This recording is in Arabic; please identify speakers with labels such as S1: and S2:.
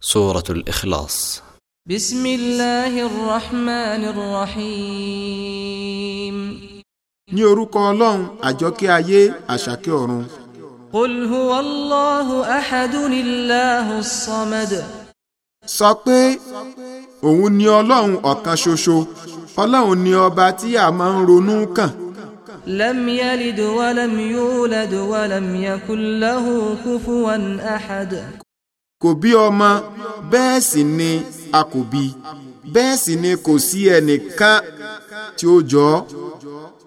S1: سورة الإخلاص
S2: بسم الله الرحمن الرحيم
S3: ní orúkọ ọlọ́run àjọkẹ́ ayé àṣàkẹ́ ọ̀run
S2: قل هو الله أحد الله الصمد
S3: sọ pé òun ni ọlọ́run ọ̀kan ṣoṣo ọlọ́run ni ọba tí a máa ń ronú kàn
S2: لم يلد ولم يولد ولم يكن له كفوا أحد
S3: kò bí ọmọ bẹ́ẹ̀ sì ni a kò bí bẹ́ẹ̀ sì ni kò sí ẹnìkan tí ó jọ ọ́